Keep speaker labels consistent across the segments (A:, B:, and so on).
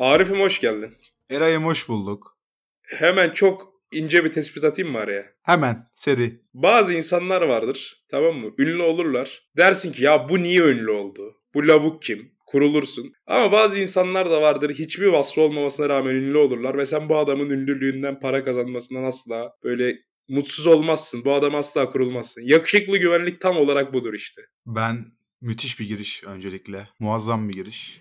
A: Arif'im hoş geldin.
B: Eray'ım hoş bulduk.
A: Hemen çok ince bir tespit atayım mı araya?
B: Hemen seri.
A: Bazı insanlar vardır tamam mı? Ünlü olurlar. Dersin ki ya bu niye ünlü oldu? Bu lavuk kim? Kurulursun. Ama bazı insanlar da vardır hiçbir vasfı olmamasına rağmen ünlü olurlar ve sen bu adamın ünlülüğünden para kazanmasından asla böyle mutsuz olmazsın. Bu adam asla kurulmazsın. Yakışıklı güvenlik tam olarak budur işte.
B: Ben müthiş bir giriş öncelikle. Muazzam bir giriş.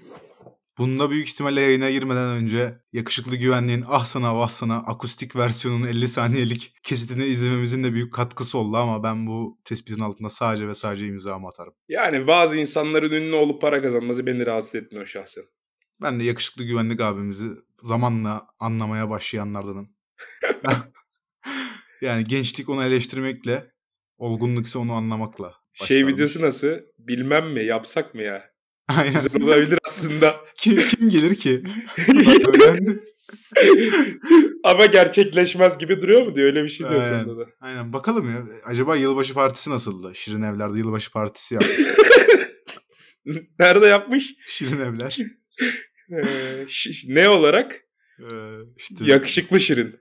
B: Bunda büyük ihtimalle yayına girmeden önce yakışıklı güvenliğin ah sana vah sana akustik versiyonunun 50 saniyelik kesitini izlememizin de büyük katkısı oldu ama ben bu tespitin altında sadece ve sadece imzamı atarım.
A: Yani bazı insanların ünlü olup para kazanması beni rahatsız etmiyor şahsen.
B: Ben de yakışıklı güvenlik abimizi zamanla anlamaya başlayanlardanım. yani gençlik onu eleştirmekle, olgunluk ise onu anlamakla.
A: Şey
B: başlarım.
A: videosu nasıl? Bilmem mi? Yapsak mı ya?
B: Aynen.
A: Güzel olabilir aslında.
B: Kim, kim gelir ki? Bak öğrendim.
A: Ama gerçekleşmez gibi duruyor mu diyor. Öyle bir şey diyor
B: Aynen.
A: sonunda da.
B: Aynen bakalım ya. Acaba yılbaşı partisi nasıldı? Şirin Evler'de yılbaşı partisi yaptı.
A: Nerede yapmış?
B: Şirin Evler.
A: Ee, şi- ne olarak?
B: Ee, işte,
A: Yakışıklı Şirin.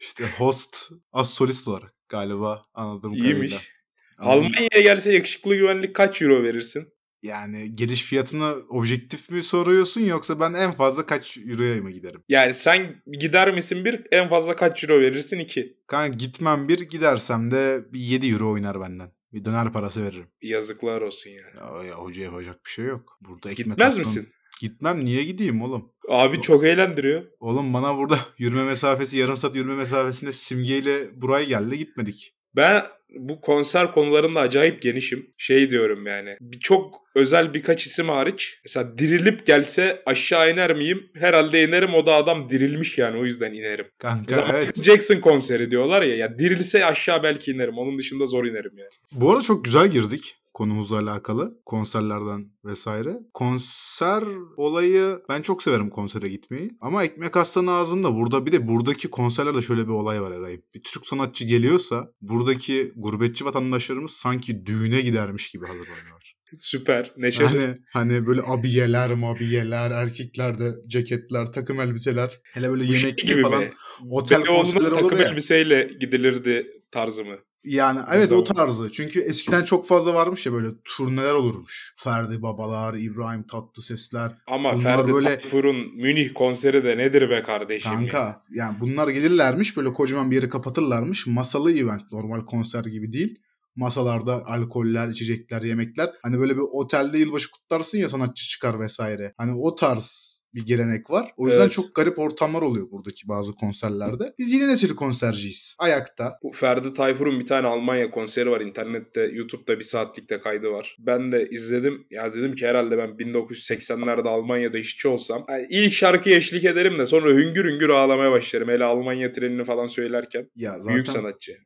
B: işte host az solist olarak galiba anladığım kadarıyla.
A: İyiymiş.
B: Ama
A: Almanya'ya gelse yakışıklı güvenlik kaç euro verirsin?
B: Yani geliş fiyatını objektif mi soruyorsun yoksa ben en fazla kaç euroya mı giderim?
A: Yani sen gider misin bir en fazla kaç euro verirsin iki.
B: Kanka gitmem bir gidersem de bir 7 euro oynar benden. Bir döner parası veririm.
A: Yazıklar olsun yani.
B: Ya, ya hoca yapacak bir şey yok. Burada ekmek
A: Gitmez
B: aslan-
A: misin?
B: Gitmem niye gideyim oğlum?
A: Abi çok eğlendiriyor.
B: Oğlum bana burada yürüme mesafesi yarım saat yürüme mesafesinde simgeyle buraya geldi gitmedik.
A: Ben bu konser konularında acayip genişim. Şey diyorum yani. bir- Çok özel birkaç isim hariç. Mesela dirilip gelse aşağı iner miyim? Herhalde inerim. O da adam dirilmiş yani. O yüzden inerim.
B: Kanka
A: Mesela
B: evet.
A: Michael Jackson konseri diyorlar ya. Ya dirilse aşağı belki inerim. Onun dışında zor inerim yani.
B: Bu arada çok güzel girdik konumuzla alakalı. Konserlerden vesaire. Konser olayı ben çok severim konsere gitmeyi. Ama ekmek aslanı ağzında burada bir de buradaki konserlerde şöyle bir olay var Eray'ım. Bir Türk sanatçı geliyorsa buradaki gurbetçi vatandaşlarımız sanki düğüne gidermiş gibi hazırlanıyorlar.
A: Süper. Neşeli.
B: Yani hani böyle abiyeler mabiyeler erkekler de ceketler takım elbiseler hele böyle
A: Bu şey
B: yemekli
A: gibi
B: falan
A: mi?
B: otel konserleri
A: Beyoğlu'na
B: olur
A: takım
B: ya.
A: elbiseyle gidilirdi tarzı mı?
B: Yani
A: Bizim
B: evet o
A: zamanımızda.
B: tarzı. Çünkü eskiden çok fazla varmış ya böyle turneler olurmuş. Ferdi Babalar, İbrahim Tatlısesler.
A: Ama
B: Bunlar
A: Ferdi
B: böyle-
A: Tayfur'un Münih konseri de nedir be kardeşim? ya?
B: Kanka yani bunlar gelirlermiş böyle kocaman bir yeri kapatırlarmış. Masalı event normal konser gibi değil. Masalarda alkoller, içecekler, yemekler. Hani böyle bir otelde yılbaşı kutlarsın ya sanatçı çıkar vesaire. Hani o tarz bir gelenek var. O yüzden
A: Evet.
B: çok garip ortamlar oluyor buradaki bazı konserlerde. Biz yine nesil konserciyiz. Ayakta.
A: Bu Ferdi Tayfur'un bir tane Almanya konseri var internette YouTube'da bir saatlikte kaydı var. Ben de izledim. Ya dedim ki herhalde ben 1980'lerde Almanya'da işçi olsam yani ilk şarkıya eşlik ederim de sonra hüngür hüngür ağlamaya başlarım. Hele Almanya trenini falan söylerken.
B: Ya
A: Büyük
B: zaten
A: sanatçı.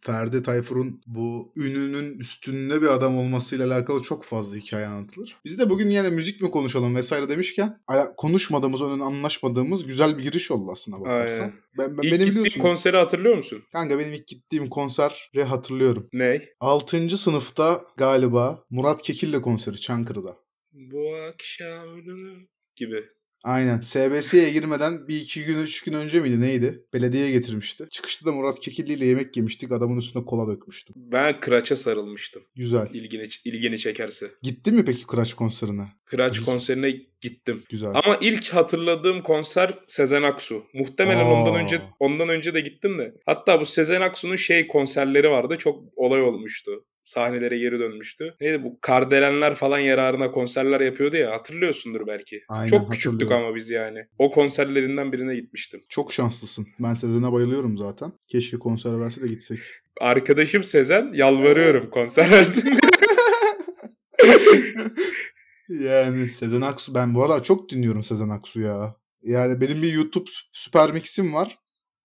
B: Ferdi Tayfur'un bu ününün üstünde bir adam olmasıyla alakalı çok fazla hikaye anlatılır. Biz de bugün yine müzik mi konuşalım vesaire demişken ala- konuşmadığımız, onun anlaşmadığımız güzel bir giriş oldu aslında bakarsan.
A: Aynen.
B: Ben, ben,
A: İlk
B: beni
A: gittiğin
B: biliyorsun.
A: konseri hatırlıyor musun?
B: Kanka benim ilk gittiğim konseri hatırlıyorum.
A: Ney?
B: 6. sınıfta galiba Murat Kekilli konseri Çankırı'da.
A: Bu akşam ölümü gibi.
B: Aynen. SBS'ye girmeden bir iki gün, üç gün önce miydi neydi? Belediye getirmişti. Çıkışta da Murat Kekilli ile yemek yemiştik. Adamın üstüne kola dökmüştüm.
A: Ben Kıraç'a sarılmıştım.
B: Güzel.
A: İlgini, ilgini çekerse.
B: Gittin mi peki Kıraç konserine?
A: Kıraç
B: Hı.
A: konserine gittim.
B: Güzel.
A: Ama ilk hatırladığım konser Sezen Aksu. Muhtemelen
B: Aa.
A: ondan önce ondan önce de gittim de. Hatta bu Sezen Aksu'nun şey konserleri vardı. Çok olay olmuştu. Sahnelere geri dönmüştü. Neydi bu Kardelenler falan yararına konserler yapıyordu ya hatırlıyorsundur belki.
B: Aynen,
A: Çok küçüktük
B: hatırlıyorum.
A: ama biz yani. O konserlerinden birine gitmiştim.
B: Çok şanslısın. Ben Sezen'e bayılıyorum zaten. Keşke konser verse de gitsek.
A: Arkadaşım Sezen yalvarıyorum konser versin.
B: yani Sezen Aksu ben bu aralar çok dinliyorum Sezen Aksu ya. Yani benim bir YouTube sü- süper mixim var.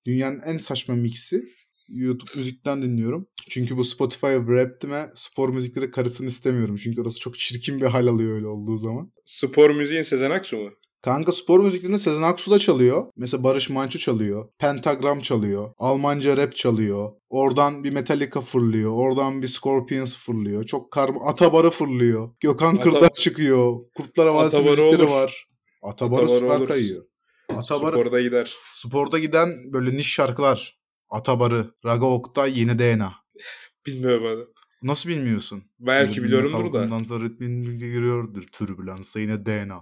B: Dünyanın en saçma mixi. YouTube müzikten dinliyorum. Çünkü bu Spotify Wrapped'ime spor müzikleri karısını istemiyorum. Çünkü orası çok çirkin bir hal alıyor öyle olduğu zaman.
A: Spor müziğin Sezen Aksu mu?
B: Kanka spor müziklerinde Sezen Aksu da çalıyor. Mesela Barış Manço çalıyor. Pentagram çalıyor. Almanca rap çalıyor. Oradan bir Metallica fırlıyor. Oradan bir Scorpions fırlıyor. Çok karma. Atabarı fırlıyor. Gökhan
A: Ata-
B: Kırdaç çıkıyor. Kurtlar Havası
A: Atabarı
B: müzikleri
A: olur.
B: var. Atabarı,
A: Atabarı
B: süper
A: olur.
B: kayıyor. Atabarı
A: Sporda gider.
B: sporda giden böyle niş şarkılar. Atabarı, Raga Oktay, Yeni DNA.
A: Bilmiyorum abi.
B: Nasıl bilmiyorsun?
A: Belki şey biliyorumdur da.
B: Kalkından ritmin giriyordur. Türbülansa yine DNA.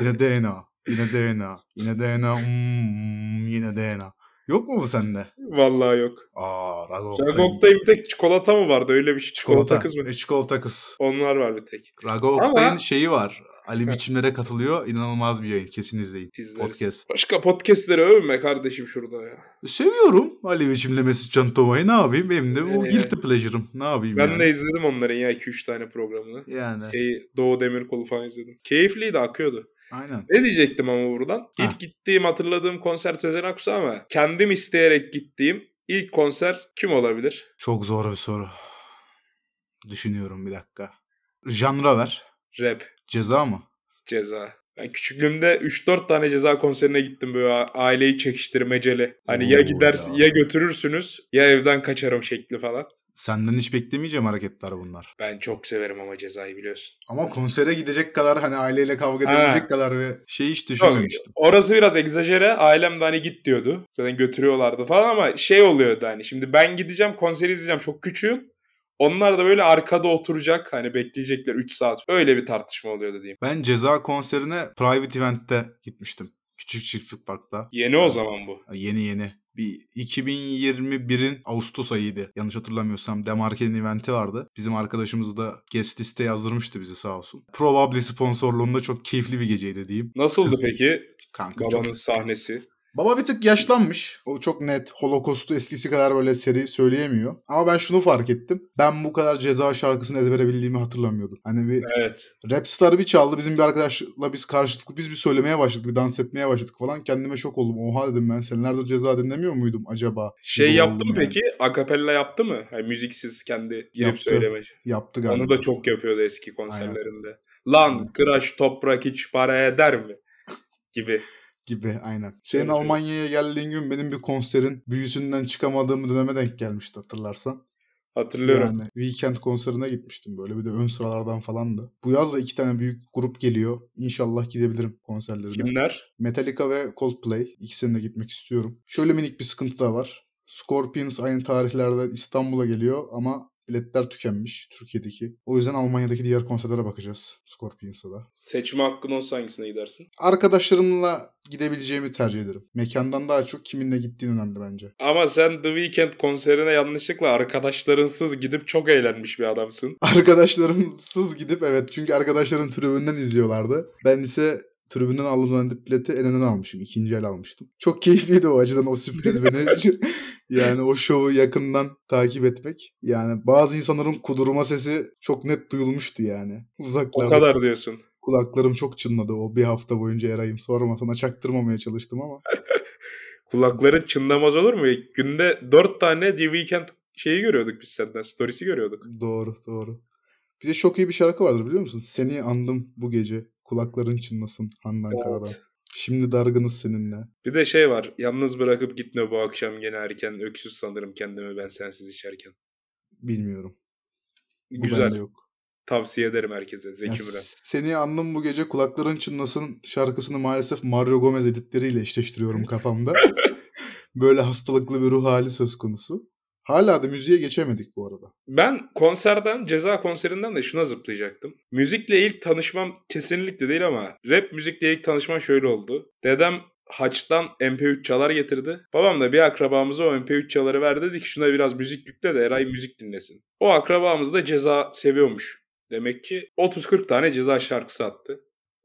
B: yine DNA. Yine DNA. Yine DNA. Hmm, yine DNA. Yok mu bu sende?
A: Vallahi yok.
B: Aa, Raga Oktay.
A: Jagok'ta bir tek çikolata mı vardı? Öyle bir şey. Çikolata, kız mı?
B: E, çikolata kız.
A: Onlar var bir tek.
B: Raga Oktay'ın
A: Ama-
B: şeyi var. Ali biçimlere katılıyor. İnanılmaz bir yayın. Kesin izleyin.
A: İzleriz.
B: Podcast.
A: Başka podcastleri övme kardeşim şurada ya.
B: Seviyorum Ali biçimle Mesut Can Toma'yı. Ne yapayım? Benim de bu
A: Ee,
B: guilty pleasure'ım. Ne yapayım
A: Ben
B: yani?
A: de izledim onların ya 2-3 tane programını.
B: Yani.
A: Şey, Doğu Demirkol'u falan izledim. Keyifliydi, akıyordu.
B: Aynen.
A: Ne diyecektim ama buradan?
B: Ha.
A: İlk gittiğim hatırladığım konser Sezen Aksu ama kendim isteyerek gittiğim ilk konser kim olabilir?
B: Çok zor bir soru. Düşünüyorum bir dakika. Janra ver.
A: Rap,
B: Ceza mı?
A: ceza. Ben küçüklüğümde 3-4 tane ceza konserine gittim böyle a- aileyi çekiştirmeceli. Hani ya
B: Oo
A: gidersin
B: ya.
A: ya götürürsünüz ya evden kaçarım şekli falan.
B: Senden hiç beklemeyeceğim hareketler bunlar.
A: Ben çok severim ama cezayı biliyorsun.
B: Ama konsere gidecek kadar hani aileyle kavga
A: Ha.
B: edebilecek kadar ve şey hiç
A: Yok,
B: düşünmemiştim.
A: orası biraz egzajere. Ailem de hani git diyordu. Zaten götürüyorlardı falan ama şey oluyordu hani. Şimdi ben gideceğim konseri izleyeceğim çok küçüğüm. Onlar da böyle arkada oturacak hani bekleyecekler 3 saat. Öyle bir tartışma oluyordu diyeyim.
B: Ben ceza konserine private event'te gitmiştim. Küçük çiftlik parkta.
A: Yeni o zaman bu.
B: Yeni yeni. Bir 2021'in Ağustos ayıydı. Yanlış hatırlamıyorsam Demarke'nin eventi vardı. Bizim arkadaşımız da guest liste yazdırmıştı bizi sağ olsun. Probably sponsorluğunda çok keyifli bir geceydi diyeyim.
A: Nasıldı peki
B: Kanka çok
A: babanın sahnesi?
B: Baba bir tık yaşlanmış. O çok net. Holocaust'u eskisi kadar böyle seri söyleyemiyor. Ama ben şunu fark ettim. Ben bu kadar ceza şarkısını ezbere bildiğimi hatırlamıyordum. Hani bir
A: Evet.
B: rap starı bir çaldı. Bizim bir arkadaşla biz karşılıklı biz bir söylemeye başladık. Bir dans etmeye başladık falan. Kendime şok oldum. Oha dedim ben senelerdir ceza dinlemiyor muydum acaba?
A: Şey
B: Gibi
A: yaptı
B: oldum
A: mı
B: yani.
A: peki? Akapella yaptı mı? Hani müziksiz kendi girip
B: Yaptı.
A: söyleme.
B: Yaptı galiba.
A: Onu da çok yapıyordu eski konserlerinde. Lan kıraş toprak hiç para eder mi? Gibi.
B: gibi aynen. Senin
A: Şöyle şöyle.
B: Almanya'ya geldiğin gün benim bir konserin büyüsünden çıkamadığım döneme denk gelmişti hatırlarsan.
A: Hatırlıyorum.
B: Yani weekend konserine gitmiştim böyle bir de ön sıralardan falandı. Bu yaz da iki tane büyük grup geliyor. İnşallah gidebilirim konserlerine.
A: Kimler?
B: Metallica ve Coldplay. İkisine de gitmek istiyorum. Şöyle minik bir sıkıntı da var. Scorpions aynı tarihlerde İstanbul'a geliyor ama biletler tükenmiş Türkiye'deki. O yüzden Almanya'daki diğer konserlere bakacağız Scorpions'a da.
A: Seçme hakkın olsa hangisine gidersin?
B: Arkadaşlarımla gidebileceğimi tercih ederim. Mekandan daha çok kiminle gittiğin önemli bence.
A: Ama sen The Weeknd konserine yanlışlıkla arkadaşlarınsız gidip çok eğlenmiş bir adamsın.
B: Arkadaşlarımsız gidip evet çünkü arkadaşlarım tribünden izliyorlardı. Ben ise tribünden alınan bileti en önden almışım. ikinci el almıştım. Çok keyifliydi o açıdan o sürpriz beni. yani o şovu yakından takip etmek. Yani bazı insanların kudurma sesi çok net duyulmuştu yani.
A: O
B: Uzaklarda
A: kadar diyorsun.
B: kulaklarım çok çınladı o bir hafta boyunca Eray'ım. Sorma sana çaktırmamaya çalıştım ama.
A: Kulakların çınlamaz olur mu? Günde 4 tane The Weeknd şeyi görüyorduk biz senden. Stories'i görüyorduk.
B: Doğru doğru. Bir de çok iyi bir şarkı vardır biliyor musun? Seni andım bu gece. Kulakların çınlasın Handan
A: Evet.
B: Karadan. Şimdi dargınız seninle.
A: Bir de şey var. Yalnız bırakıp gitme bu akşam gene erken. Öksüz sanırım kendimi ben sensiz içerken.
B: Bilmiyorum. Bu
A: Güzel.
B: bende yok.
A: Tavsiye ederim herkese.
B: Ya
A: Zeki Müren.
B: seni andım bu gece kulakların çınlasın şarkısını maalesef Mario Gomez editleriyle eşleştiriyorum kafamda. Böyle hastalıklı bir ruh hali söz konusu. Hala da müziğe geçemedik bu arada.
A: Ben konserden, ceza konserinden de şuna zıplayacaktım. Müzikle ilk tanışmam kesinlikle değil ama rap müzikle ilk tanışmam şöyle oldu. Dedem Haç'tan MP3 çalar getirdi. Babam da bir akrabamıza o MP3 çaları ver dedi ki şuna biraz müzik yükle de Eray müzik dinlesin. O akrabamız da ceza seviyormuş. Demek ki 30-40 tane ceza şarkısı attı.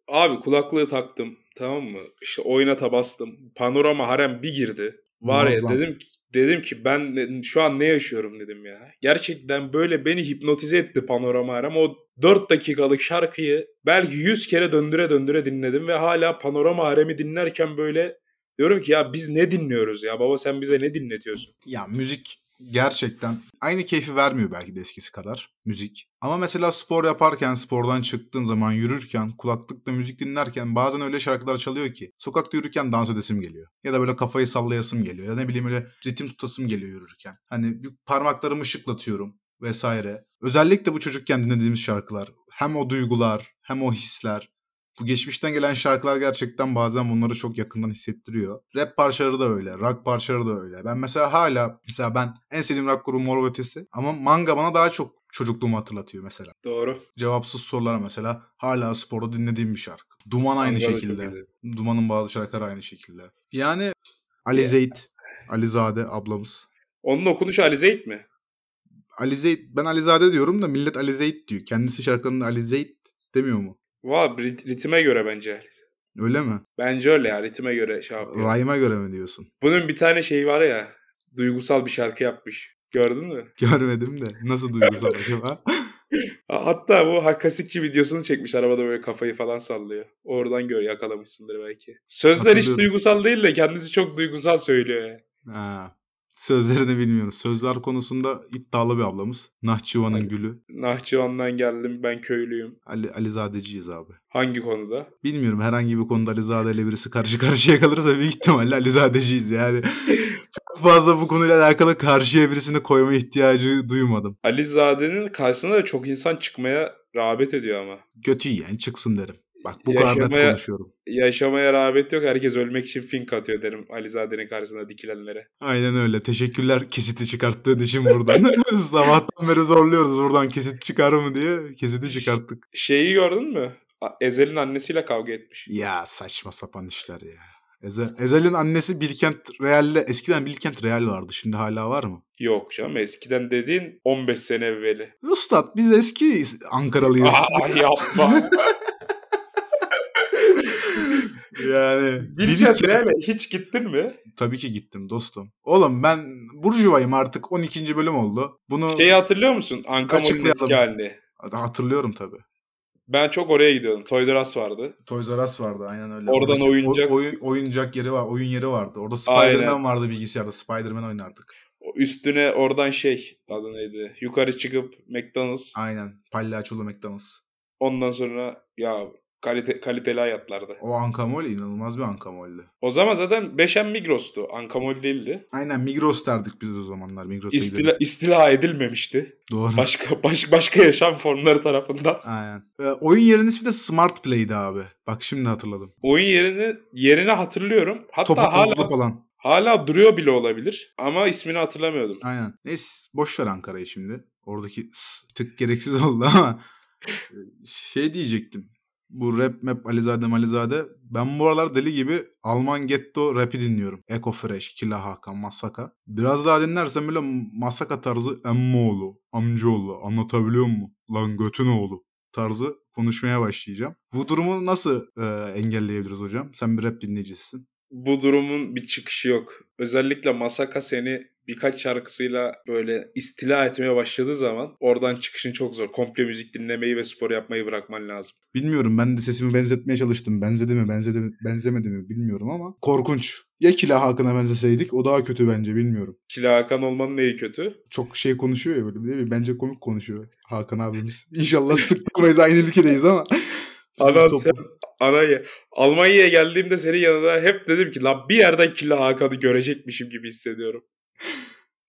A: Abi kulaklığı taktım tamam mı? İşte oynata bastım. Panorama harem bir girdi. Var ya
B: Muazzam.
A: dedim ki dedim ki ben de- şu an ne yaşıyorum dedim ya. Gerçekten böyle beni hipnotize etti panorama harem. O 4 dakikalık şarkıyı belki 100 kere döndüre döndüre dinledim ve hala panorama haremi dinlerken böyle diyorum ki ya biz ne dinliyoruz ya baba sen bize ne dinletiyorsun?
B: Ya müzik gerçekten aynı keyfi vermiyor belki de eskisi kadar müzik. Ama mesela spor yaparken, spordan çıktığım zaman yürürken, kulaklıkla müzik dinlerken bazen öyle şarkılar çalıyor ki sokakta yürürken dans edesim geliyor. Ya da böyle kafayı sallayasım geliyor. Ya ne bileyim öyle ritim tutasım geliyor yürürken. Hani bir parmaklarımı şıklatıyorum vesaire. Özellikle bu çocukken dinlediğimiz şarkılar. Hem o duygular, hem o hisler. Bu geçmişten gelen şarkılar gerçekten bazen bunları çok yakından hissettiriyor. Rap parçaları da öyle, rock parçaları da öyle. Ben mesela hala, mesela ben en sevdiğim rock grubu Mor ve Ötesi ama manga bana daha çok çocukluğumu hatırlatıyor mesela.
A: Doğru.
B: Cevapsız sorular mesela hala sporda dinlediğim bir şarkı. Duman aynı
A: Manga da çok
B: şekilde.
A: iyi.
B: Duman'ın bazı şarkıları aynı şekilde. Yani Ali Zeyt, Alizade ablamız.
A: Onun okunuşu Ali Zeyt mi?
B: Ali Zeyt, ben Alizade diyorum da millet Ali Zeyt diyor. Kendisi şarkılarında Ali Zeyt demiyor mu?
A: Valla rit- ritime göre bence.
B: Öyle mi?
A: Bence öyle ya ritime göre şey yapıyor.
B: Rayma göre mi diyorsun?
A: Bunun bir tane şeyi var ya duygusal bir şarkı yapmış. Gördün mü?
B: Görmedim de. Nasıl duygusal acaba?
A: Ha- Hatta bu Hakasikçi videosunu çekmiş. Arabada böyle kafayı falan sallıyor. Oradan gör yakalamışsındır belki. Sözler hiç
B: Hatırlıyorum.
A: duygusal değil de kendisi çok duygusal söylüyor yani.
B: Ha. Sözlerini bilmiyorum. Sözler konusunda iddialı bir ablamız. Nahçıvan'ın
A: Evet.
B: gülü.
A: Nahçıvan'dan geldim ben köylüyüm.
B: Ali, Alizadeciyiz abi.
A: Hangi konuda?
B: Bilmiyorum herhangi bir konuda Alizade ile birisi karşı karşıya kalırsa büyük ihtimalle Alizadeciyiz yani. Çok fazla bu konuyla alakalı karşıya birisini koyma ihtiyacı duymadım.
A: Alizade'nin karşısına da çok insan çıkmaya rağbet ediyor ama.
B: Götü yani çıksın derim. Bak bu kadar net
A: Yaşamaya-
B: konuşuyorum.
A: Yaşamaya rağbet yok. Herkes ölmek için fink atıyor derim Alizade'nin karşısına dikilenlere.
B: Aynen öyle. Teşekkürler kesiti çıkarttığın için buradan. Sabahtan beri zorluyoruz buradan kesit çıkar mı diye. Kesiti çıkarttık.
A: Şeyi gördün mü? A- Ezel'in annesiyle kavga etmiş.
B: Ya saçma sapan işler ya. Ezel, Ezel'in annesi Bilkent Real'le eskiden Bilkent Real vardı. Şimdi hala var mı?
A: Yok canım eskiden dediğin 15 sene evveli.
B: Üstad biz eski Ankaralıyız.
A: Aa yapma.
B: yani
A: Bilkent Real'e hiç gittin şey mi?
B: Tabii ki gittim dostum. Oğlum ben Burjuva'yım artık 12. bölüm oldu. Bunu
A: Şeyi hatırlıyor musun? Ankamon'un
B: Açıklayalım.
A: eski halini.
B: hatırlıyorum tabii.
A: Ben çok oraya gidiyordum. Toys R Us vardı.
B: Toys R Us vardı aynen
A: Oradan
B: öyle. Oradaki o-
A: oyuncak-
B: oyun, oyuncak yeri var. Oyun yeri vardı. Orada
A: Aynen.
B: Spider-Man vardı bilgisayarda. Spider-Man oynardık.
A: O Üstüne oradan şey adı neydi? Yukarı çıkıp McDonald's.
B: Aynen. Palyaçolu McDonald's.
A: Ondan sonra ya kalite, kaliteli hayatlarda.
B: O Ankamol inanılmaz bir Ankamol'di.
A: O zaman zaten Beşen Migros'tu. Ankamol değildi.
B: Aynen Migros derdik biz o zamanlar. Migros'a
A: İstila,
B: gidelim.
A: istila edilmemişti.
B: Doğru.
A: Başka baş, başka yaşam formları tarafından.
B: Aynen. Ee, oyun yerinin ismi de Smart Play'di abi. Bak şimdi hatırladım.
A: Oyun yerini yerini hatırlıyorum. Hatta
B: Topu tozlu
A: hala
B: falan.
A: hala duruyor bile olabilir ama ismini hatırlamıyordum.
B: Aynen. Neyse boş ver Ankara'yı şimdi. Oradaki s- tık gereksiz oldu ama Ee, şey diyecektim. Bu rap map Alizade Malizade. Ben bu aralar deli gibi Alman Ghetto rap'i dinliyorum. Eko Fresh, Killa Hakan, Masaka. Biraz daha dinlersem böyle Masaka tarzı emmoğlu, amcaoğlu anlatabiliyor mu? Lan götün oğlu tarzı konuşmaya başlayacağım. Bu durumu nasıl e, engelleyebiliriz hocam? Sen bir rap dinleyicisisin.
A: Bu durumun bir çıkışı yok. Özellikle Masaka seni birkaç şarkısıyla böyle istila etmeye başladığı zaman oradan çıkışın çok zor. Komple müzik dinlemeyi ve spor yapmayı bırakman lazım.
B: Bilmiyorum ben de sesimi benzetmeye çalıştım. Benzedi mi benzedi mi benzemedi mi bilmiyorum ama korkunç. Ya Killa Hakan'a benzeseydik o daha kötü bence bilmiyorum.
A: Kila Hakan olmanın neyi kötü?
B: çok şey konuşuyor ya böyle değil mi? Bence komik konuşuyor Hakan abimiz. İnşallah sıktırmayız aynı ülkedeyiz ama.
A: Ana
B: Top-
A: sen, ana ye- Almanya'ya geldiğimde senin yanına hep dedim ki lan bir yerden Kila Hakan'ı görecekmişim gibi hissediyorum.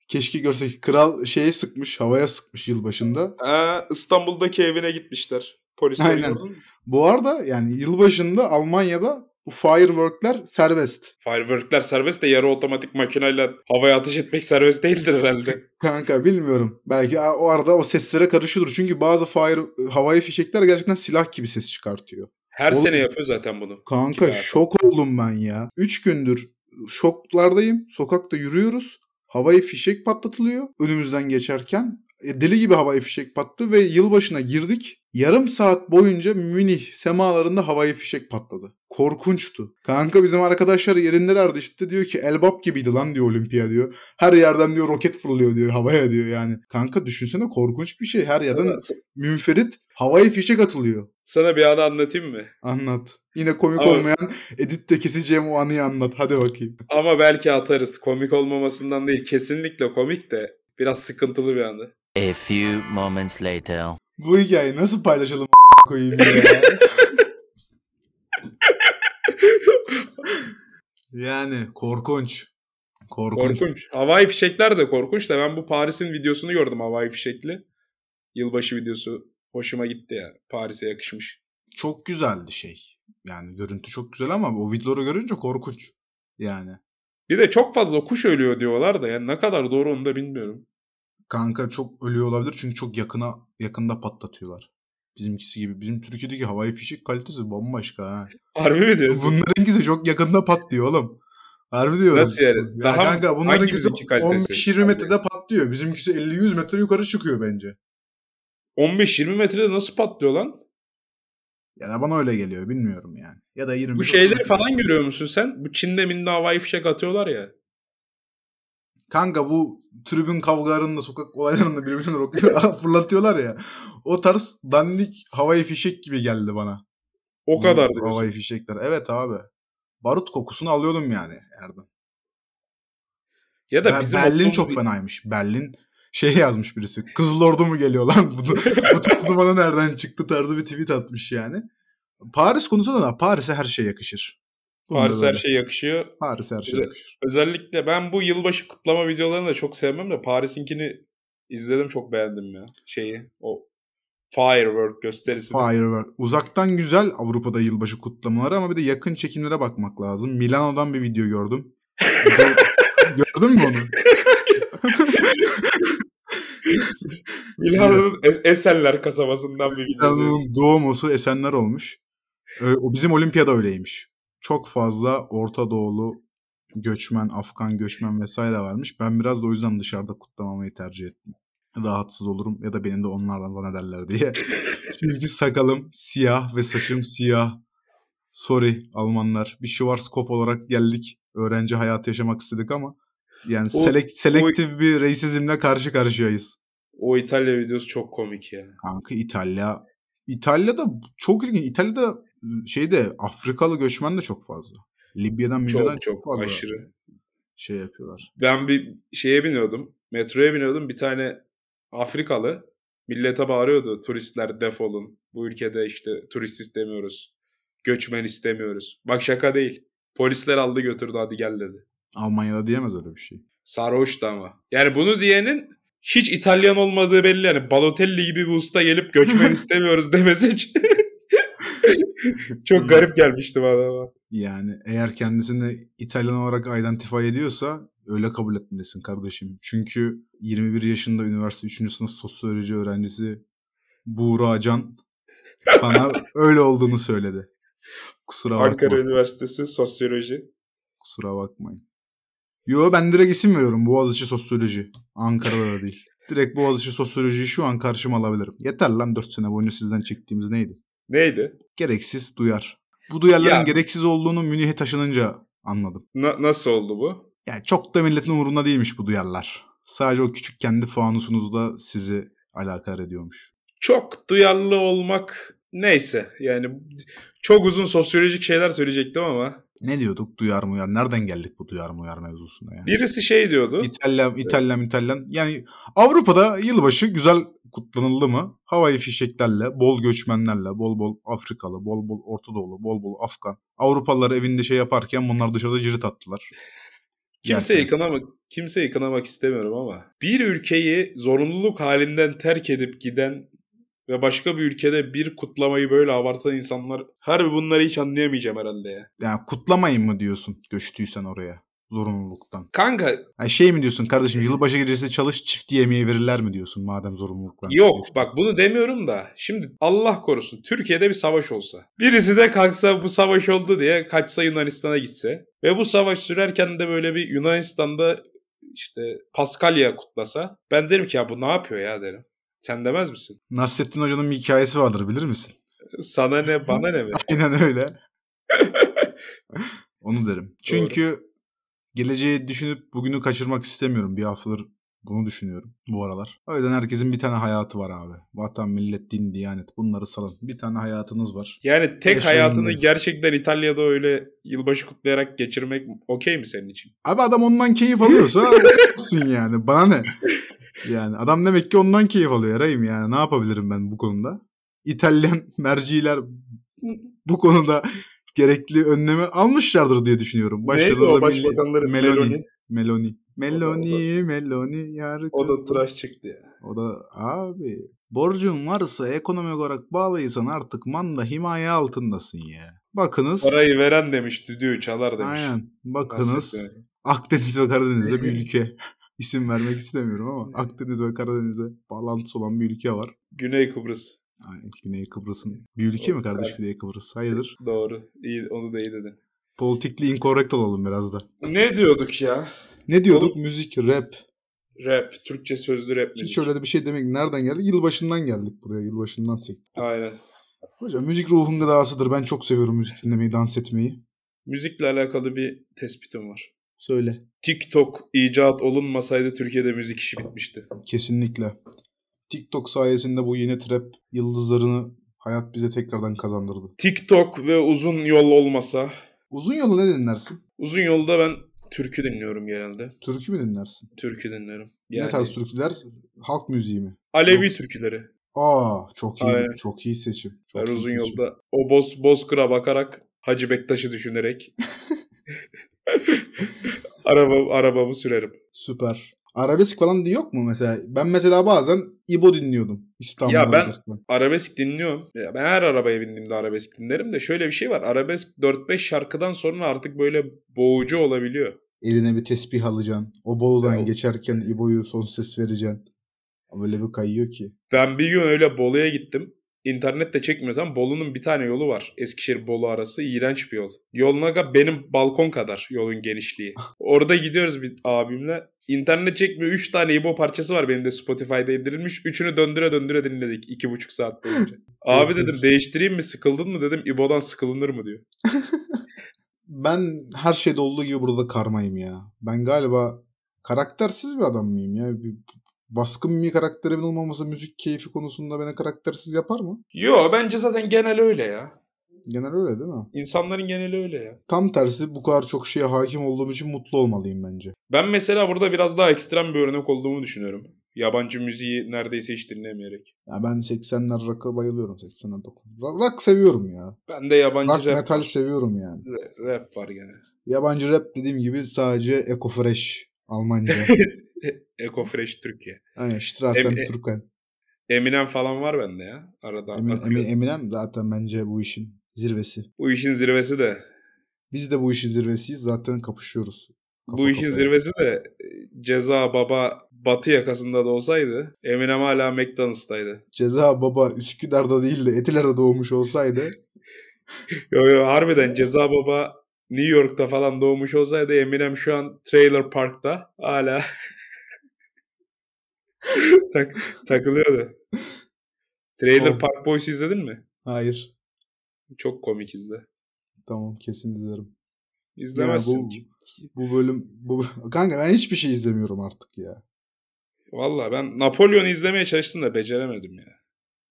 B: Keşke görsek kral şeye sıkmış, havaya sıkmış yılbaşında.
A: Ha, İstanbul'daki evine gitmişler. Polisler
B: Aynen.
A: gördün mü?
B: Bu arada yani yılbaşında Almanya'da bu fireworkler serbest.
A: Fireworkler serbest de yarı otomatik makineyle havaya ateş etmek serbest değildir herhalde.
B: Kanka bilmiyorum. Belki a- o arada o seslere karışıyordur. Çünkü bazı fire havai fişekler gerçekten silah gibi ses çıkartıyor.
A: Her
B: Oğlum-
A: sene yapıyor zaten bunu.
B: Kanka
A: Süper.
B: şok oldum ben ya. 3 gündür şoklardayım. Sokakta yürüyoruz. Havai fişek patlatılıyor önümüzden geçerken. E, Deli gibi havai fişek pattı ve yılbaşına girdik. Yarım saat boyunca Münih semalarında havai fişek patladı. Korkunçtu. Kanka bizim arkadaşlar yerindelerdi işte diyor ki elbap gibiydi lan diyor olimpiya diyor. Her yerden diyor roket fırlıyor diyor havaya diyor yani. Kanka düşünsene korkunç bir şey. Her yerden münferit havai fişek atılıyor.
A: Sana bir anı anlatayım mı?
B: Anlat. Yine komik
A: Abi-
B: olmayan editte keseceğim o anıyı anlat. Hadi bakayım.
A: Ama belki atarız. Komik olmamasından değil. Kesinlikle komik de. Biraz sıkıntılı bir anı.
C: A few moments later.
B: Bu hikayeyi nasıl paylaşalım koyayım ya. yani korkunç. Korkunç.
A: Korkunç. Havai fişekler de korkunç da ben bu Paris'in videosunu gördüm havai fişekli. Yılbaşı videosu hoşuma gitti ya. Paris'e yakışmış.
B: Çok güzeldi şey. Yani görüntü çok güzel ama o videoları görünce korkunç. Yani
A: Bir de çok fazla kuş ölüyor diyorlar da ya ne kadar doğru onu da bilmiyorum.
B: kanka çok ölüyor olabilir çünkü çok yakına yakında patlatıyorlar. Bizimkisi gibi. Bizim Türkiye'deki havai fişek kalitesi bambaşka ha.
A: Harbi mi diyorsun?
B: Bunlarınkisi çok yakında patlıyor oğlum. Harbi diyorum.
A: Nasıl yani?
B: Ya
A: Daha
B: kanka bunlarınkisi
A: hangimizinki kalitesi?
B: 15-20 metrede patlıyor. Bizimkisi 50-100 metre yukarı çıkıyor bence.
A: 15-20 metrede nasıl patlıyor lan?
B: Ya da bana öyle geliyor bilmiyorum yani. Ya da 20.
A: Bu şeyleri falan görüyor musun sen? Bu Çin'de minde havai fişek atıyorlar ya.
B: Kanka bu tribün kavgalarında, sokak olaylarında birbirine okuyor, fırlatıyorlar ya. O tarz dandik havai fişek gibi geldi bana.
A: O kadar
B: Bu Havai
A: diyorsun.
B: fişekler. Evet abi. Barut kokusunu alıyordum yani Erdem.
A: Ya da
B: Be-
A: bizim
B: Berlin
A: okulumuz-
B: çok fenaymış. Berlin şey yazmış birisi. Kızıl Ordu mu geliyor lan? Bu, bu tarz bana nereden çıktı tarzı bir tweet atmış yani. Paris konusunda da Paris'e her şey yakışır. Bunda
A: Paris her
B: böyle.
A: şey yakışıyor.
B: Paris her şey
A: Güzel.
B: yakışır.
A: Özellikle ben bu yılbaşı kutlama videolarını da çok sevmem de Paris'inkini izledim çok beğendim ya. Şeyi o firework gösterisi.
B: Firework. Uzaktan güzel Avrupa'da yılbaşı kutlamaları ama bir de yakın çekimlere bakmak lazım. Milano'dan bir video gördüm. Gör- Gördün mü onu?
A: Milano'nun Es- Esenler kasabasından bir video. diyorsun.
B: Milano'nun doğumosu Esenler olmuş. Ee, O bizim olimpiyada öyleymiş. Çok fazla Orta Doğulu göçmen, Afgan göçmen vesaire varmış. Ben biraz da o yüzden dışarıda kutlamamayı tercih ettim. Rahatsız olurum ya da benim de onlardan bana derler diye. Çünkü sakalım siyah ve saçım siyah. Sorry Almanlar. Bir Schwarzkopf olarak geldik. Öğrenci hayatı yaşamak istedik ama yani
A: O-
B: selek- selektif bir reisizmle karşı karşıyayız.
A: O İtalya videosu çok komik ya.
B: Kanka İtalya. İtalya'da çok ilginç. İtalya'da şeyde Afrikalı göçmen de çok fazla. Libya'dan Milya'dan
A: Çok
B: çok,
A: çok
B: fazla
A: aşırı.
B: şey yapıyorlar.
A: Ben bir şeye biniyordum. Metroya biniyordum. Bir tane Afrikalı millete bağırıyordu. Turistler defolun. Bu ülkede işte turist istemiyoruz. Göçmen istemiyoruz. Bak şaka değil. Polisler aldı götürdü hadi gel dedi.
B: Almanya'da diyemez öyle bir şey.
A: Sarhoştu ama. Yani bunu diyenin hiç İtalyan olmadığı belli. Yani Balotelli gibi bir usta gelip göçmen istemiyoruz demesi için çok garip gelmişti bana ama.
B: Yani eğer kendisini İtalyan olarak identify ediyorsa öyle kabul etmelisin kardeşim. Çünkü 21 yaşında üniversite 3. sınıf sosyoloji öğrencisi Buğra Can bana öyle olduğunu söyledi. Kusura
A: Ankara
B: bakma.
A: Üniversitesi Sosyoloji.
B: Kusura bakmayın. Yo ben direkt isim veriyorum. Boğaziçi Sosyoloji. Ankara'da da değil. Direkt Boğaziçi Sosyoloji'yi şu an karşıma alabilirim. Yeter lan 4 sene boyunca sizden çektiğimiz neydi?
A: Neydi?
B: Gereksiz duyar. Bu duyarların
A: Ya-
B: gereksiz olduğunu Münih'e taşınınca anladım.
A: Na- nasıl oldu bu?
B: Yani çok da milletin umurunda değilmiş bu duyarlar. Sadece o küçük kendi fanusunuzda sizi alakadar ediyormuş.
A: Çok duyarlı olmak neyse. Yani çok uzun sosyolojik şeyler söyleyecektim ama.
B: Ne diyorduk duyar mı uyar? Nereden geldik bu duyar mı uyar mevzusuna ya?
A: Birisi şey diyordu.
B: İtalyan, İtalyan, İtalyan. Yani Avrupa'da yılbaşı güzel kutlanıldı mı? Havai fişeklerle, bol göçmenlerle, bol bol Afrikalı, bol bol Orta Doğulu, bol bol Afgan. Avrupalılar evinde şey yaparken bunlar dışarıda cirit attılar.
A: Kimse
B: Gerçekten.
A: yıkanamak, kimse yıkanamak istemiyorum ama bir ülkeyi zorunluluk halinden terk edip giden ve başka bir ülkede bir kutlamayı böyle abartan insanlar harbi bunları hiç anlayamayacağım herhalde ya.
B: Yani kutlamayın mı diyorsun göçtüysen oraya zorunluluktan.
A: Kanka
B: Yani şey mi diyorsun kardeşim yılbaşı gecesi çalış çift yemeği verirler mi diyorsun madem zorunluluk var.
A: yok bak bunu demiyorum da şimdi Allah korusun Türkiye'de bir savaş olsa birisi de kalksa bu savaş oldu diye kaçsa Yunanistan'a gitse ve bu savaş sürerken de böyle bir Yunanistan'da işte Paskalya kutlasa ben derim ki ya bu ne yapıyor ya derim. Sen demez misin?
B: Nasrettin Hoca'nın bir hikayesi vardır bilir misin?
A: Sana ne bana ne be?
B: Aynen öyle. Onu derim. Çünkü geleceği düşünüp bugünü kaçırmak istemiyorum. Bir haftadır bunu düşünüyorum bu aralar. O yüzden herkesin bir tane hayatı var abi. Vatan, millet, din, diyanet bunları salın. Bir tane hayatınız var.
A: Yani tek
B: Yaşayın
A: hayatını
B: diyoruz.
A: gerçekten İtalya'da öyle yılbaşı kutlayarak geçirmek okey mi senin için?
B: Abi adam ondan keyif alıyorsa olsun yani. Bana ne? Yani adam demek ki ondan keyif alıyor Eray'ım yani. Ne yapabilirim ben bu konuda? İtalyan merciler bu konuda gerekli önlemi almışlardır diye düşünüyorum.
A: Neydi
B: Başarılı
A: o
B: da milli-
A: başbakanları?
B: Meloni.
A: Meloni.
B: Meloni.
A: da-
B: Meloni, Meloni yar.
A: O da tıraş çıktı ya.
B: O da abi borcun varsa ekonomik olarak bağlıysan artık manda himaye altındasın ya. Bakınız.
A: Parayı veren demiş, düdüğü çalar demiş.
B: Aynen.
A: Nasıl
B: Bakınız.
A: yani?
B: Akdeniz ve Karadeniz'de bir ülke. İsim vermek istemiyorum ama Akdeniz ve Karadeniz'e bağlantısı olan bir ülke var.
A: Güney Kıbrıs.
B: Ay, Güney Kıbrıs'ın bir ülke mi kardeş Güney Kıbrıs? Hayırdır?
A: Doğru. İyi, onu da iyi dedin.
B: Politikli incorrect olalım biraz da.
A: Ne diyorduk ya?
B: Ne diyorduk? Müzik, rap.
A: Rap. Türkçe sözlü rap müzik.
B: Hiç öyle de bir şey demek nereden geldi? Yılbaşından geldik buraya. Yılbaşından sektik.
A: Aynen.
B: Hocam müzik ruhun gıdasıdır. Ben çok seviyorum müzik dinlemeyi, dans etmeyi.
A: Müzikle alakalı bir tespitim var.
B: Söyle.
A: TikTok icat olunmasaydı Türkiye'de müzik işi bitmişti.
B: Kesinlikle. TikTok sayesinde bu yeni trap yıldızlarını hayat bize tekrardan kazandırdı.
A: TikTok ve uzun yol olmasa.
B: Uzun yolu ne dinlersin?
A: Uzun yolda ben türkü dinliyorum genelde.
B: Türkü mü dinlersin?
A: Türkü dinlerim. Yani
B: Ne tarz türküler? Halk müziği mi?
A: Alevi
B: Yok.
A: türküleri.
B: Aa çok iyi.
A: Aynen.
B: Çok iyi seçim. Çok
A: Ben
B: iyi
A: uzun
B: seçim.
A: yolda o boz bozkıra bakarak Hacı Bektaş'ı düşünerek araba arabamı sürerim.
B: Süper. Arabesk falan diye yok mu mesela? Ben mesela bazen İbo dinliyordum. İstanbul'da.
A: Ya ben-
B: gerçekten.
A: Arabesk dinliyorum. Ya Ben her arabaya bindiğimde arabesk dinlerim de şöyle bir şey var. Arabesk 4-5 şarkıdan sonra artık böyle boğucu olabiliyor.
B: Eline bir tesbih alacaksın. O Bolu'dan
A: Ya-
B: geçerken İbo'yu son ses vereceksin. Öyle bir kayıyor ki.
A: Ben bir gün öyle Bolu'ya gittim. İnternet de çekmiyor tamam. Bolu'nun bir tane yolu var. Eskişehir-Bolu arası iğrenç bir yol. Yolun aga benim balkon kadar yolun genişliği. Orada gidiyoruz bir abimle. İnternet çekmiyor. 3 tane İbo parçası var benim de Spotify'da indirilmiş. Üçünü döndüre döndüre dinledik 2,5 saat boyunca. Abi dedim değiştireyim mi sıkıldın mı dedim. İbo'dan sıkılınır mı diyor.
B: Ben her şeyde olduğu gibi burada da karmayım ya. Ben galiba karaktersiz bir adam mıyım ya? Bir baskın bir karakterimin olmaması müzik keyfi konusunda beni karaktersiz yapar mı?
A: Yo bence zaten genel öyle ya.
B: Genel öyle değil mi?
A: İnsanların geneli öyle ya.
B: Tam tersi bu kadar çok şeye hakim olduğum için mutlu olmalıyım bence.
A: Ben mesela burada biraz daha ekstrem bir örnek olduğumu düşünüyorum. Yabancı müziği neredeyse hiç dinlemeyerek.
B: Ya ben 80'ler rock'a bayılıyorum 80'ler 90'lar. Rock seviyorum ya.
A: Ben de yabancı
B: Rock
A: rap
B: metal seviyorum yani.
A: Ra- Rap var gene.
B: Yabancı rap dediğim gibi sadece Eko Fresh Almanca.
A: Eco Fresh Türkiye.
B: Aynen Strassen
A: Em-
B: Türken.
A: Eminem falan var bende ya. Arada
B: Emin,
A: akıyor.
B: Emin- Eminem zaten bence bu işin zirvesi.
A: Bu işin zirvesi de
B: Biz de bu işin zirvesiyiz. Zaten kapışıyoruz. Kafa
A: bu işin
B: kafaya.
A: zirvesi de e, ceza baba batı yakasında da olsaydı Eminem hala McDonald's'taydı.
B: Ceza baba Üsküdar'da değil de Etiler'de doğmuş olsaydı
A: Yo yo harbiden ceza baba New York'ta falan doğmuş olsaydı Eminem şu an Trailer Park'ta hala tak, takılıyordu. Trailer
B: Oğlum.
A: Park Boys izledin mi?
B: hayır.
A: Çok komik izle.
B: Tamam kesin izlerim. Ya
A: İzlemezsin.
B: bu, bu bölüm bu kanka ben hiçbir şey izlemiyorum artık ya.
A: Valla ben Napolyon'u izlemeye çalıştım da beceremedim ya.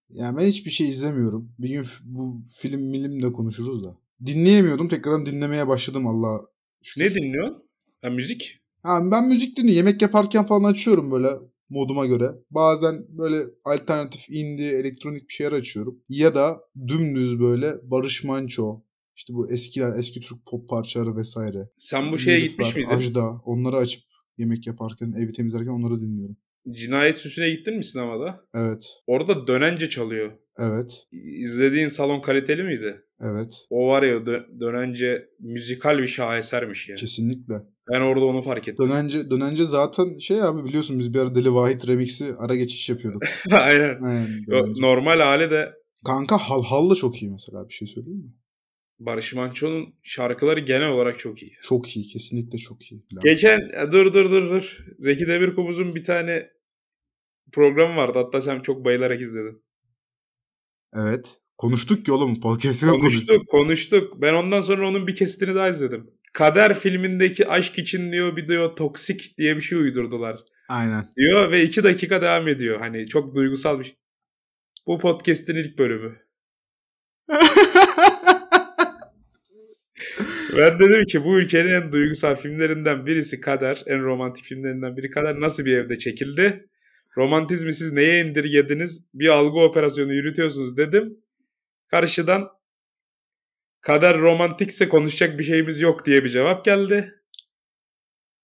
B: Yani ben hiçbir şey izlemiyorum. Bir gün f- bu film milim de konuşuruz da. Dinleyemiyordum. Tekrardan dinlemeye başladım Allah şükür.
A: Ne dinliyorsun? Ha, müzik.
B: Ha, ben müzik dinliyorum. Yemek yaparken falan açıyorum böyle moduma göre. Bazen böyle alternatif indie, elektronik bir şeyler açıyorum. Ya da dümdüz böyle Barış Manço, işte bu eskiler, eski Türk pop parçaları vesaire.
A: Sen bu şeye
B: Lütfen,
A: gitmiş miydin?
B: Ajda. Onları açıp yemek yaparken, evi temizlerken onları dinliyorum.
A: Cinayet süsüne gittin mi sinemada?
B: Evet,
A: Orada dönence çalıyor.
B: evet,
A: İ- İzlediğin salon kaliteli miydi?
B: evet.
A: O var ya dö- dönence müzikal bir şahesermiş ya.
B: Kesinlikle.
A: Ben orada onu fark ettim.
B: Dönence, dönence zaten şey abi biliyorsun biz bir ara Deli Vahit Remix'i ara geçiş yapıyorduk.
A: Aynen.
B: Aynen,
A: Yo,
B: dönence.
A: normal hali de
B: Kanka Hal Hal'la çok iyi mesela bir şey söyleyeyim mi?
A: Barış Manço'nun şarkıları genel olarak çok iyi.
B: Çok iyi, kesinlikle çok iyi. Lan.
A: Geçen e, dur dur dur dur. Zeki Demirkubuz'un bir tane programı vardı. Hatta sen çok bayılarak izledin.
B: Evet. Konuştuk ki oğlum. Podcast'ı da konuştuk.
A: Konuştuk konuştuk. Ben ondan sonra onun bir kesitini daha izledim. Kader filmindeki aşk için diyor bir diyor toksik diye bir şey uydurdular.
B: Aynen.
A: Diyor ve iki dakika devam ediyor. Hani çok duygusal bir şey. Bu podcast'in ilk bölümü. Ben dedim ki bu ülkenin en duygusal filmlerinden birisi Kader. En romantik filmlerinden biri Kader. Nasıl bir evde çekildi? romantizmi siz neye indirgediniz? Bir algı operasyonu yürütüyorsunuz dedim. Karşıdan kader romantikse konuşacak bir şeyimiz yok diye bir cevap geldi.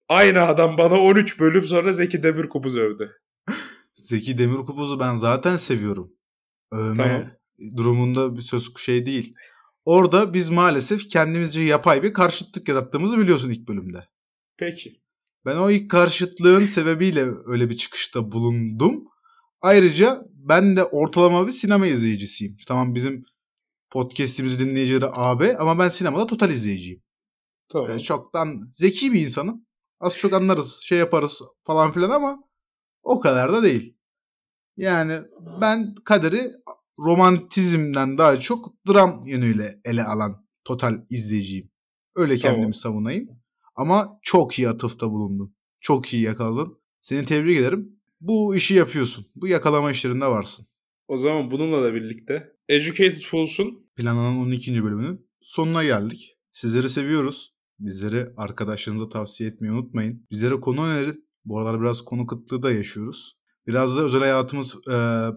A: Aynı adam bana 13 bölüm sonra Zeki Demirkubuz övdü.
B: Zeki Demirkubuz'u ben zaten seviyorum. Övme
A: Tamam.
B: durumunda bir söz şey değil. Orada biz maalesef kendimizce yapay bir karşıtlık yarattığımızı biliyorsun ilk bölümde.
A: Peki.
B: Ben o ilk karşıtlığın sebebiyle öyle bir çıkışta bulundum. Ayrıca ben de ortalama bir sinema izleyicisiyim. Tamam bizim podcast'imizi dinleyicileri AB ama ben sinemada total izleyiciyim.
A: Tamam.
B: Böyle çoktan Ee, zeki bir insanım. Az çok anlarız, şey yaparız falan filan ama o kadar da değil. Yani ben kaderi romantizmden daha çok dram yönüyle ele alan total izleyiciyim. Öyle
A: Tamam.
B: kendimi savunayım. Ama çok iyi atıfta bulundun. Çok iyi yakaladın. Seni tebrik ederim. Bu işi yapıyorsun. Bu yakalama işlerinde varsın.
A: O zaman bununla da birlikte Educated Fools'un
B: Planlanan 12. bölümünün sonuna geldik. Sizleri seviyoruz. Bizleri arkadaşlarınıza tavsiye etmeyi unutmayın. Bizlere konu önerin. Bu aralar biraz konu kıtlığı da yaşıyoruz. Biraz da özel hayatımız e,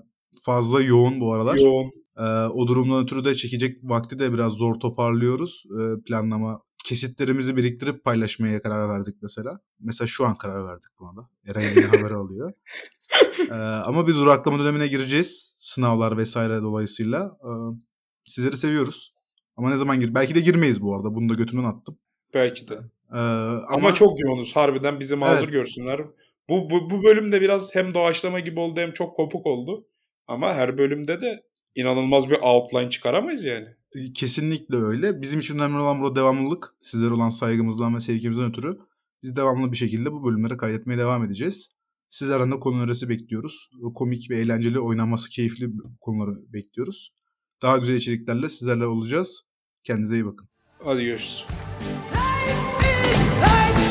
B: fazla yoğun bu aralar.
A: yoğun
B: E, o durumdan ötürü de çekecek vakti de biraz zor toparlıyoruz. E, planlama kesitlerimizi biriktirip paylaşmaya karar verdik mesela. Mesela şu an karar verdik buna da. Eren yeni haber alıyor. E, ama bir duraklama dönemine gireceğiz. Sınavlar vesaire dolayısıyla. E, sizleri seviyoruz. Ama ne zaman gir? Belki de girmeyiz bu arada. Bunu da götümden attım.
A: belki de.
B: E,
A: Ama, çok yoğunuz harbiden bizi mazur
B: Evet.
A: görsünler. Bu, bu, bu bölümde biraz hem doğaçlama gibi oldu hem çok kopuk oldu. Ama her bölümde de inanılmaz bir outline çıkaramayız yani.
B: Kesinlikle öyle. Bizim için önemli olan burada devamlılık. Sizlere olan saygımızdan ve sevgimizden ötürü biz devamlı bir şekilde bu bölümlere kaydetmeye devam edeceğiz. Sizlerden de konu önerisi bekliyoruz. Komik ve eğlenceli, oynaması keyifli konuları bekliyoruz. Daha güzel içeriklerle sizlerle olacağız. Kendinize iyi bakın.
A: Hadi görüşürüz.
D: Life